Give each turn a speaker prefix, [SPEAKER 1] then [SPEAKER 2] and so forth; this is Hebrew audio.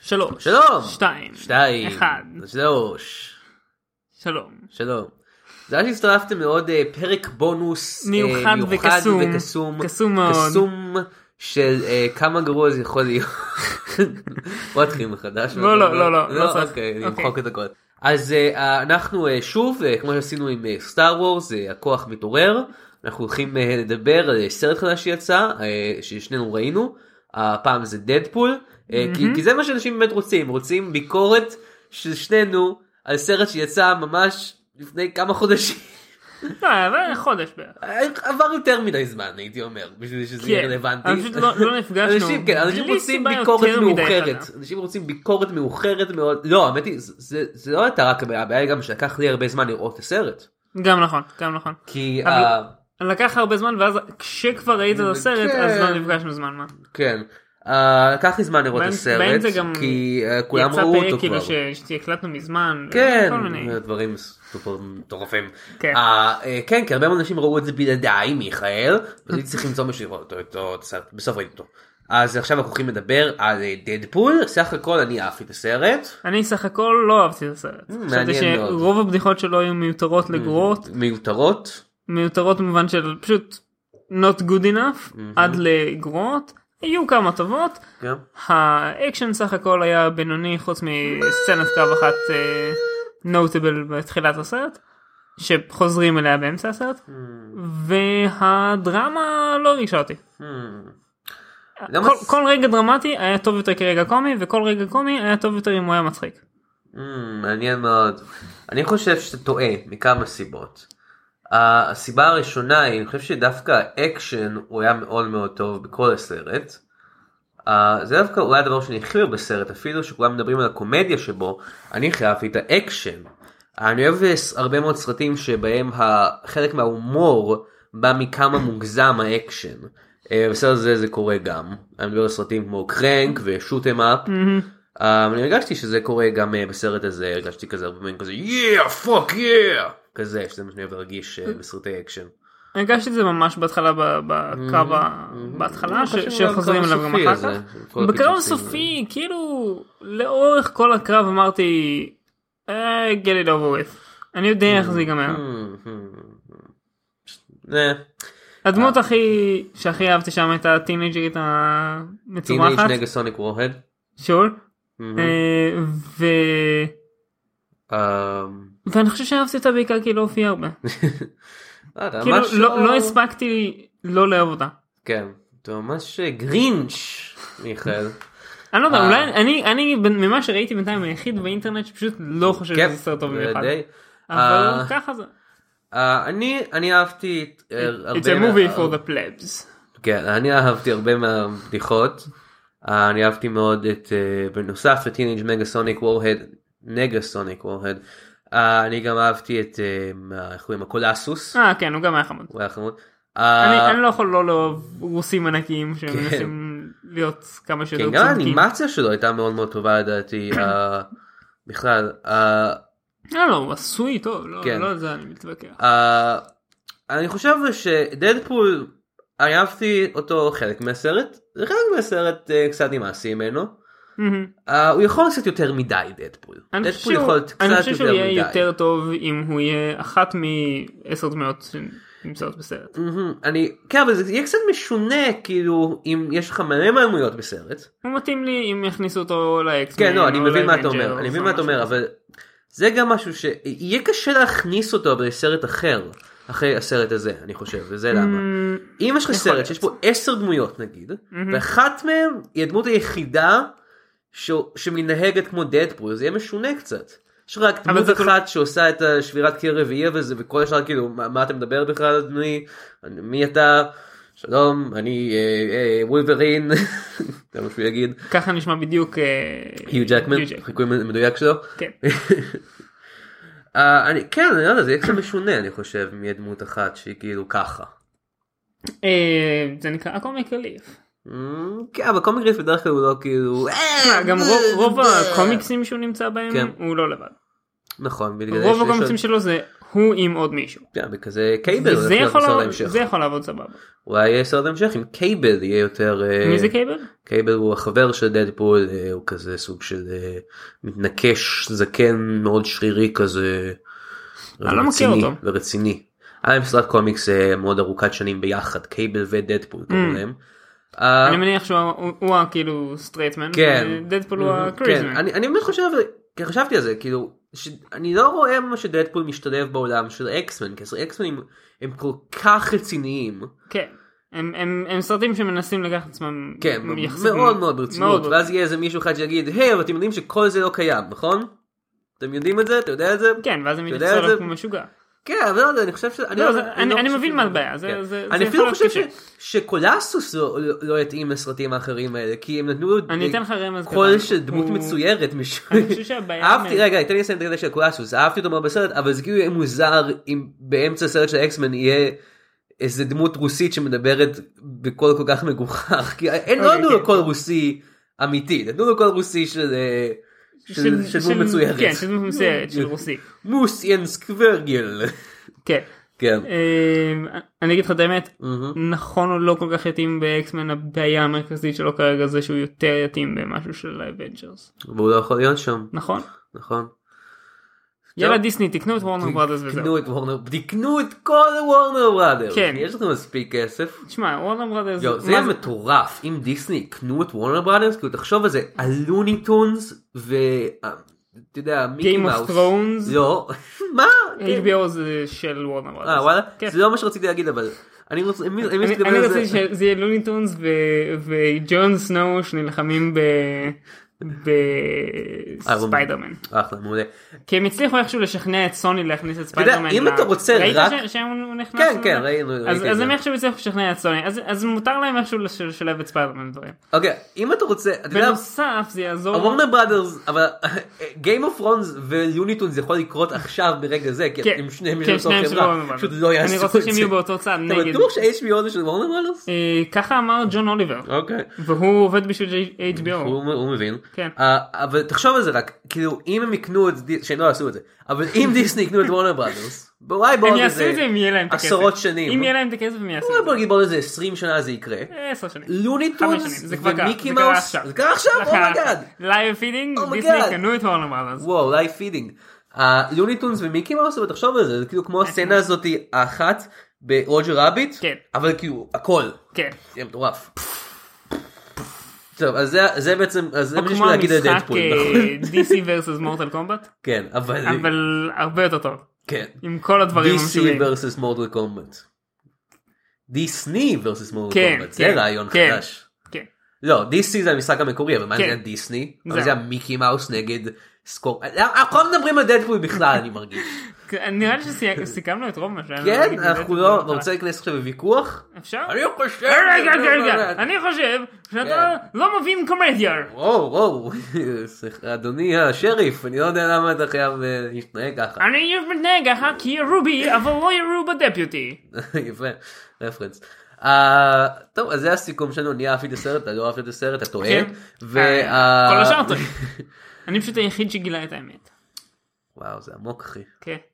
[SPEAKER 1] שלוש.
[SPEAKER 2] שלום.
[SPEAKER 1] שתיים.
[SPEAKER 2] שתיים.
[SPEAKER 1] אחד.
[SPEAKER 2] שלוש.
[SPEAKER 1] שלום.
[SPEAKER 2] שלום. תודה שהצטרפתם לעוד אה, פרק בונוס אה,
[SPEAKER 1] מיוחד וקסום.
[SPEAKER 2] וקסום.
[SPEAKER 1] קסום מאוד.
[SPEAKER 2] קסום של אה, כמה גרוע זה יכול להיות. בוא נתחיל מחדש.
[SPEAKER 1] לא, לא, לא, לא, לא צריך.
[SPEAKER 2] אוקיי, אני
[SPEAKER 1] אוקיי.
[SPEAKER 2] אמחוק את הכל. אז אה, אנחנו אה, שוב, אה, כמו שעשינו עם סטאר וורס, הכוח מתעורר. אנחנו הולכים אה, לדבר על סרט חדש שיצא, אה, ששנינו ראינו. הפעם זה דדפול. אה, כי, כי זה מה שאנשים באמת רוצים, רוצים ביקורת של שנינו על סרט שיצא ממש לפני כמה חודשים.
[SPEAKER 1] לא, אבל חודש בערך.
[SPEAKER 2] עבר יותר מדי זמן הייתי אומר בשביל שזה יהיה
[SPEAKER 1] כן.
[SPEAKER 2] רלוונטי.
[SPEAKER 1] אבל פשוט לא- לא נפגשנו.
[SPEAKER 2] אנשים כן, אנשים
[SPEAKER 1] בלי
[SPEAKER 2] רוצים
[SPEAKER 1] סיבה
[SPEAKER 2] ביקורת
[SPEAKER 1] יותר מדי
[SPEAKER 2] מאוחרת.
[SPEAKER 1] חדה.
[SPEAKER 2] אנשים רוצים ביקורת מאוחרת מאוד. לא האמת היא זה- זה זה לא הייתה רק הבעיה, הבעיה היא גם שלקח לי הרבה זמן לראות את הסרט.
[SPEAKER 1] גם נכון, גם נכון.
[SPEAKER 2] כי אה,
[SPEAKER 1] אבל-
[SPEAKER 2] ה-
[SPEAKER 1] לקח הרבה זמן ואז כשכבר ראית את הסרט
[SPEAKER 2] כן.
[SPEAKER 1] אז לא נפגשנו זמן מה.
[SPEAKER 2] כן. אה, לקח לי זמן לראות את
[SPEAKER 1] באמצע- באמצע
[SPEAKER 2] הסרט
[SPEAKER 1] גם
[SPEAKER 2] כי אה, כולם
[SPEAKER 1] יצא
[SPEAKER 2] ראו
[SPEAKER 1] פרק
[SPEAKER 2] אותו
[SPEAKER 1] כאילו
[SPEAKER 2] כבר.
[SPEAKER 1] ש- שהקלטנו מזמן.
[SPEAKER 2] כן,
[SPEAKER 1] כל מיני.
[SPEAKER 2] דברים סופר מטורפים.
[SPEAKER 1] כן.
[SPEAKER 2] אה, אה, כן, כי הרבה מאוד אנשים ראו את זה בלעדיי, מיכאל, אז הייתי צריך למצוא מישהו לראות אותו, אותו, את הסרט, בסוף ראיתי אותו. אז עכשיו אנחנו הולכים לדבר על אה, דדפול, סך הכל אני אהבתי את הסרט.
[SPEAKER 1] אני סך הכל לא אהבתי את הסרט. חשבתי
[SPEAKER 2] Mm, מעניין מאוד. Mm.
[SPEAKER 1] שרוב הבדיחות שלו היו מיותרות לגרועות.
[SPEAKER 2] מיותרות.
[SPEAKER 1] מיותרות במובן של פשוט not good
[SPEAKER 2] Mm-hmm.
[SPEAKER 1] enough עד לגרועות היו כמה טובות
[SPEAKER 2] גם.
[SPEAKER 1] האקשן סך הכל היה בינוני חוץ מסצנת קרב אחת נוטבל בתחילת הסרט שחוזרים אליה באמצע הסרט והדרמה לא ריגשה אותי
[SPEAKER 2] למה-
[SPEAKER 1] כל, כל רגע דרמטי היה טוב יותר כרגע קומי וכל רגע קומי היה טוב יותר אם הוא היה מצחיק.
[SPEAKER 2] Hmm, מעניין מאוד. אני חושב שאתה טועה מכמה סיבות. ה- הסיבה הראשונה היא, אני חושב שדווקא האקשן הוא היה מאוד מאוד טוב בכל הסרט. אה, זה דווקא אולי הדבר שאני הכי אוהב בסרט, אפילו שכולם מדברים על הקומדיה שבו, אני הכי אהבתי את האקשן. אני אוהב אה, ס- הרבה מאוד סרטים שבהם ה- חלק מההומור בא מכמה מוגזם האקשן. אה, בסרט זה זה קורה גם. אני מדבר על סרטים כמו קרנק ושוטם אפ.
[SPEAKER 1] Mm-hmm.
[SPEAKER 2] Um, אני הרגשתי שזה קורה גם אה, בסרט הזה, הרגשתי כזה הרבה פעמים כזה יא פאק יא כזה שזה מה שאני אוהב להרגיש אה, בסרטי אקשן.
[SPEAKER 1] הרגשתי את זה ממש בהתחלה ב- בקרב ה-
[SPEAKER 2] Mm-hmm. לא
[SPEAKER 1] בהתחלה ש- שחוזרים אליו גם אחר כך. בקרב הסופי כאילו לאורך כל הקרב אמרתי "אה, get it over with אני יודע איך זה ייגמר
[SPEAKER 2] Hmm, אה.
[SPEAKER 1] הדמות הכי שהכי אהבתי שם הייתה הטינג'רית
[SPEAKER 2] צומחת.
[SPEAKER 1] המצומחת
[SPEAKER 2] נגד סוניק Hmm, וורהד.
[SPEAKER 1] שול
[SPEAKER 2] Mhm.
[SPEAKER 1] אה, ו-
[SPEAKER 2] אמ,
[SPEAKER 1] אה. ואני חושב שאהבתי אותה בעיקר כי לא הופיעה הרבה
[SPEAKER 2] לא יודע,
[SPEAKER 1] כאילו
[SPEAKER 2] משהו-
[SPEAKER 1] לא לא הספקתי לא לאהוב אותה.
[SPEAKER 2] כן, אתה ממש אה, גרינץ' מיכאל.
[SPEAKER 1] אני לא יודע,
[SPEAKER 2] אה.
[SPEAKER 1] אולי אני, אני בין- ממה שראיתי בינתיים היחיד באינטרנט שפשוט לא חושב
[SPEAKER 2] כן,
[SPEAKER 1] שזה סרט טוב
[SPEAKER 2] זה
[SPEAKER 1] במיוחד.
[SPEAKER 2] די-
[SPEAKER 1] אבל כן.
[SPEAKER 2] אה,
[SPEAKER 1] ככה זה.
[SPEAKER 2] אה, אני אני אהבתי את, אה, הרבה... אה,
[SPEAKER 1] It's a
[SPEAKER 2] מה-
[SPEAKER 1] movie for the plebs.
[SPEAKER 2] כן, אני אהבתי הרבה מהבדיחות. אה, אני אהבתי מאוד את, אה, בנוסף לטינג' מגה סוניק וורהד, נגה סוניק וורהד. אה, אני גם אהבתי את, אה, מה- איך קוראים? הקולסוס.
[SPEAKER 1] אה כן הוא גם היה חמוד.
[SPEAKER 2] הוא היה חמוד.
[SPEAKER 1] אני,
[SPEAKER 2] אה,
[SPEAKER 1] אני לא יכול לא לאהוב רוסים ענקיים שמנסים להיות כמה שיותר
[SPEAKER 2] כן, גם
[SPEAKER 1] לא צודקים.
[SPEAKER 2] האנימציה שלו הייתה מאוד מאוד טובה לדעתי. אה, בכלל, אה,
[SPEAKER 1] לא, לא, הוא עשוי טוב, לא,
[SPEAKER 2] כן.
[SPEAKER 1] לא על זה אני מתווכח.
[SPEAKER 2] אה, אני חושב שדדפול, אני אהבתי אותו חלק מהסרט, זה חלק מהסרט אה, קצת נמאסי ממנו.
[SPEAKER 1] מהמם.
[SPEAKER 2] אה, הוא יכול קצת יותר מדי דדפול.
[SPEAKER 1] אני חושב
[SPEAKER 2] דדפול
[SPEAKER 1] שהוא-
[SPEAKER 2] יכול קצת
[SPEAKER 1] אני חושב שהוא
[SPEAKER 2] יותר מדי.
[SPEAKER 1] יהיה יותר טוב אם הוא יהיה אחת מעשר דמויות שנמצאות בסרט.
[SPEAKER 2] מהמם. אני כן אבל זה יהיה קצת משונה כאילו אם יש לך מלא מהדמויות בסרט.
[SPEAKER 1] הוא מתאים לי אם יכניסו אותו לאקס.
[SPEAKER 2] כן לא אני מבין מה אתה אומר אני מבין מה אתה אומר אבל זה גם משהו שיהיה קשה להכניס אותו בסרט אחר אחרי הסרט הזה אני חושב וזה למה. אם יש לך
[SPEAKER 1] Mm, יכול
[SPEAKER 2] סרט
[SPEAKER 1] להיות. Mm-hmm.
[SPEAKER 2] שיש בו עשר דמויות נגיד ואחת מהן היא הדמות היחידה ש- שמנהגת כמו דדפול זה יהיה משונה קצת. יש לך רק
[SPEAKER 1] אבל
[SPEAKER 2] דמות
[SPEAKER 1] זה כל-
[SPEAKER 2] אחת שעושה את השבירת קיר רביעייה וזה וכל השאר כאילו מה, מה אתה מדבר בכלל אדוני אני- מי אתה שלום אני אה, אה, וולברין זה מה שהוא יגיד
[SPEAKER 1] ככה נשמע בדיוק אה,
[SPEAKER 2] היו ג'קמן
[SPEAKER 1] היו ג'קמן,
[SPEAKER 2] חיקוי מדויק שלו.
[SPEAKER 1] כן.
[SPEAKER 2] אה, אני כן אני לא יודע זה יהיה קצת משונה אני חושב מדמות אחת שהיא כאילו ככה.
[SPEAKER 1] אה, זה נקרא הקומיק רליף.
[SPEAKER 2] אה, כן אבל קומי גריף בדרך כלל הוא לא כאילו
[SPEAKER 1] תשמע, אה, גם רוב- רוב הקומיקסים שהוא נמצא בהם
[SPEAKER 2] כן.
[SPEAKER 1] הוא לא לבד.
[SPEAKER 2] נכון בגלל זה
[SPEAKER 1] רוב
[SPEAKER 2] יש- יש עוד-
[SPEAKER 1] הקומיקסים שלו זה הוא עם עוד מישהו.
[SPEAKER 2] כן, וכזה קייבל.
[SPEAKER 1] זה יכול, לעבוד, זה יכול לעבוד סבבה.
[SPEAKER 2] אולי יהיה סרט המשך אם קייבל יהיה יותר... אה,
[SPEAKER 1] מי זה קייבל?
[SPEAKER 2] קייבל הוא החבר של דדפול, אה, הוא כזה סוג של אה, מתנקש זקן מאוד שרירי כזה.
[SPEAKER 1] אני לא מכיר אותו.
[SPEAKER 2] ורציני. היה להם סרט קומיקס אה, מאוד ארוכת שנים ביחד, קייבל ודדפול קוראים להם.
[SPEAKER 1] Mm.
[SPEAKER 2] אה,
[SPEAKER 1] אני מניח שהוא הכאילו סטרייטמן, דדפול הוא הקריזמן.
[SPEAKER 2] כן. Mm-hmm. אני באמת חושב, חשבתי על זה, כאילו, אני לא רואה מה שדדפול משתלב בעולם של אקסמן, כי אקסמנים הם כל כך רציניים.
[SPEAKER 1] כן. הם, הם, הם סרטים שמנסים לקחת עצמם
[SPEAKER 2] כן, מאוד מאוד ברצינות ואז יהיה איזה מישהו אחד שיגיד היי אבל אתם יודעים שכל זה לא קיים נכון? אתם יודעים את זה? אתה יודע את זה?
[SPEAKER 1] כן ואז הם יתפסו עליו כמו משוגע.
[SPEAKER 2] כן, אבל לא יודע, אני חושב ש...
[SPEAKER 1] לא, לא, זה, אני, אני, אני מבין מה הבעיה, זה, כן. זה,
[SPEAKER 2] אני אפילו חושב ש... שקולסוס לא, לא, לא יתאים לסרטים האחרים האלה, כי הם נתנו
[SPEAKER 1] אני אתן לך רמז
[SPEAKER 2] קול של דמות
[SPEAKER 1] Mm.
[SPEAKER 2] הוא... מצוירת משהו.
[SPEAKER 1] אני חושב שהבעיה...
[SPEAKER 2] אהבתי, רגע, תן לי לסיים את הקטע של קולסוס, אהבתי אותו מאוד בסרט, אבל זה כאילו יהיה מוזר אם באמצע הסרט של אקסמן יהיה... איזה דמות רוסית שמדברת בקול כל כך מגוחך כי אין
[SPEAKER 1] אוקיי,
[SPEAKER 2] לא נתנו
[SPEAKER 1] כן.
[SPEAKER 2] לו קול רוסי אמיתי נתנו לו קול רוסי של אה, של דמות מצוירת.
[SPEAKER 1] כן, של דמות מצוירת, של רוסי.
[SPEAKER 2] מוס ינסקוורגל.
[SPEAKER 1] כן. אמ,
[SPEAKER 2] כן. Mm-hmm.
[SPEAKER 1] אני אגיד לך את האמת, נכון הוא לא כל כך יתאים באקסמן, הבעיה המרכזית שלו כרגע זה שהוא יותר יתאים במשהו של אבנג'רס.
[SPEAKER 2] והוא לא יכול להיות שם.
[SPEAKER 1] נכון.
[SPEAKER 2] נכון.
[SPEAKER 1] יאללה דיסני תקנו את וורנר בראדרס וזהו.
[SPEAKER 2] תקנו את וורנר, תקנו את כל וורנר בראדרס.
[SPEAKER 1] כן.
[SPEAKER 2] יש לכם מספיק כסף.
[SPEAKER 1] תשמע וורנר בראדרס.
[SPEAKER 2] זה היה מטורף אם דיסני יקנו את וורנר בראדרס כאילו תחשוב על זה הלוני טונס ו... אה, אתה יודע, מיקי מאוס.
[SPEAKER 1] Game of Thrones.
[SPEAKER 2] לא. מה?
[SPEAKER 1] HBO זה של וורנר בראדרס.
[SPEAKER 2] אה וואלה?
[SPEAKER 1] כן.
[SPEAKER 2] זה לא מה שרציתי להגיד אבל. אני רוצה
[SPEAKER 1] שזה יהיה לוני טונס וג'ון סנואו שנלחמים ב... בספיידרמן.
[SPEAKER 2] אחלה, מעולה.
[SPEAKER 1] כי הם הצליחו איכשהו לשכנע את סוני להכניס את ספיידרמן.
[SPEAKER 2] אם אתה רוצה
[SPEAKER 1] ראית
[SPEAKER 2] רק...
[SPEAKER 1] ראית שהוא נכנס?
[SPEAKER 2] כן, כן, ראינו.
[SPEAKER 1] אז הם איכשהו הצליחו לשכנע את סוני, אז מותר להם איכשהו לשלב את ספיידרמן בדברים.
[SPEAKER 2] אוקיי, אם אתה רוצה...
[SPEAKER 1] בנוסף זה יעזור...
[SPEAKER 2] הוורנר בראדרס, אבל Game of Thrones וליוניטון זה יכול לקרות עכשיו ברגע זה,
[SPEAKER 1] כן,
[SPEAKER 2] כי הם שניהם
[SPEAKER 1] של אותה חברה,
[SPEAKER 2] פשוט לא יעשו את
[SPEAKER 1] זה. אני
[SPEAKER 2] כן,
[SPEAKER 1] רוצה שהם יהיו באותו צד נגד.
[SPEAKER 2] אתה בטוח ש-HBO זה של וורנר בראדרס?
[SPEAKER 1] ככה אמר ג'ון אוליבר. והוא עובד בשביל HBO.
[SPEAKER 2] הוא מבין.
[SPEAKER 1] כן.
[SPEAKER 2] Uh, אבל תחשוב על זה רק, כאילו אם הם יקנו את דיסני, שהם לא יעשו את זה, אבל אם דיסני יקנו את וורנר בראדרס, אולי בעוד
[SPEAKER 1] איזה
[SPEAKER 2] עשרות שנים, לא?
[SPEAKER 1] אם יהיה להם את הכסף הם יעשו
[SPEAKER 2] את זה, בוא נגיד בעוד איזה 20 שנה זה יקרה,
[SPEAKER 1] 10 שנים,
[SPEAKER 2] לוני טונס לא, ומיקי מאוס, זה קרה עכשיו, oh אומייגאד,
[SPEAKER 1] לייב פידינג, דיסני קנו את וורנר בראדרס,
[SPEAKER 2] Oh וואו לייב פידינג, לוני טונס ומיקי מאוס, אבל תחשוב על זה, זה כאילו כמו הסצנה הזאת האחת ברוג'ר רביט,
[SPEAKER 1] כן,
[SPEAKER 2] אבל כאילו הכל,
[SPEAKER 1] כן,
[SPEAKER 2] זה מטורף. טוב אז זה, זה בעצם אז זה בשביל להגיד על דדפול
[SPEAKER 1] נכון? DC versus מורטל קומבט
[SPEAKER 2] כן אה, אבל
[SPEAKER 1] אבל הרבה יותר טוב
[SPEAKER 2] כן
[SPEAKER 1] עם כל הדברים
[SPEAKER 2] DC versus מורטל קומבט. דיסני versus מורטל
[SPEAKER 1] כן,
[SPEAKER 2] קומבט
[SPEAKER 1] כן,
[SPEAKER 2] זה רעיון
[SPEAKER 1] כן,
[SPEAKER 2] חדש.
[SPEAKER 1] כן.
[SPEAKER 2] לא DC זה המשחק המקורי אבל מה
[SPEAKER 1] כן.
[SPEAKER 2] זה דיסני
[SPEAKER 1] זה.
[SPEAKER 2] אבל זה המיקי מאוס נגד סקור אנחנו לא מדברים על דדפול בכלל אני מרגיש.
[SPEAKER 1] נראה לי שסיכמנו את רוב מה שהיה.
[SPEAKER 2] כן אנחנו לא אתה רוצה להיכנס עכשיו לוויכוח
[SPEAKER 1] אפשר?
[SPEAKER 2] אני לא חושב
[SPEAKER 1] אה, רגע רגע
[SPEAKER 2] כן,
[SPEAKER 1] רגע אני חושב שאתה לא מבין קומדיה.
[SPEAKER 2] וואו וואו סליחה, אדוני השריף אני לא יודע למה אתה חייב אה, להתנהג ככה
[SPEAKER 1] אני מתנהג ככה כי רובי אבל לא ירו בדפיוטי.
[SPEAKER 2] יפה רפרנס. אה, טוב אז זה הסיכום שלנו אני אהבתי את הסרט אתה לא אהבת את הסרט אתה טועה.
[SPEAKER 1] כן.
[SPEAKER 2] ו-
[SPEAKER 1] אה, כל
[SPEAKER 2] אה,
[SPEAKER 1] השאר טועים. אני פשוט היחיד שגילה את האמת.
[SPEAKER 2] וואו זה עמוק אחי.
[SPEAKER 1] כן.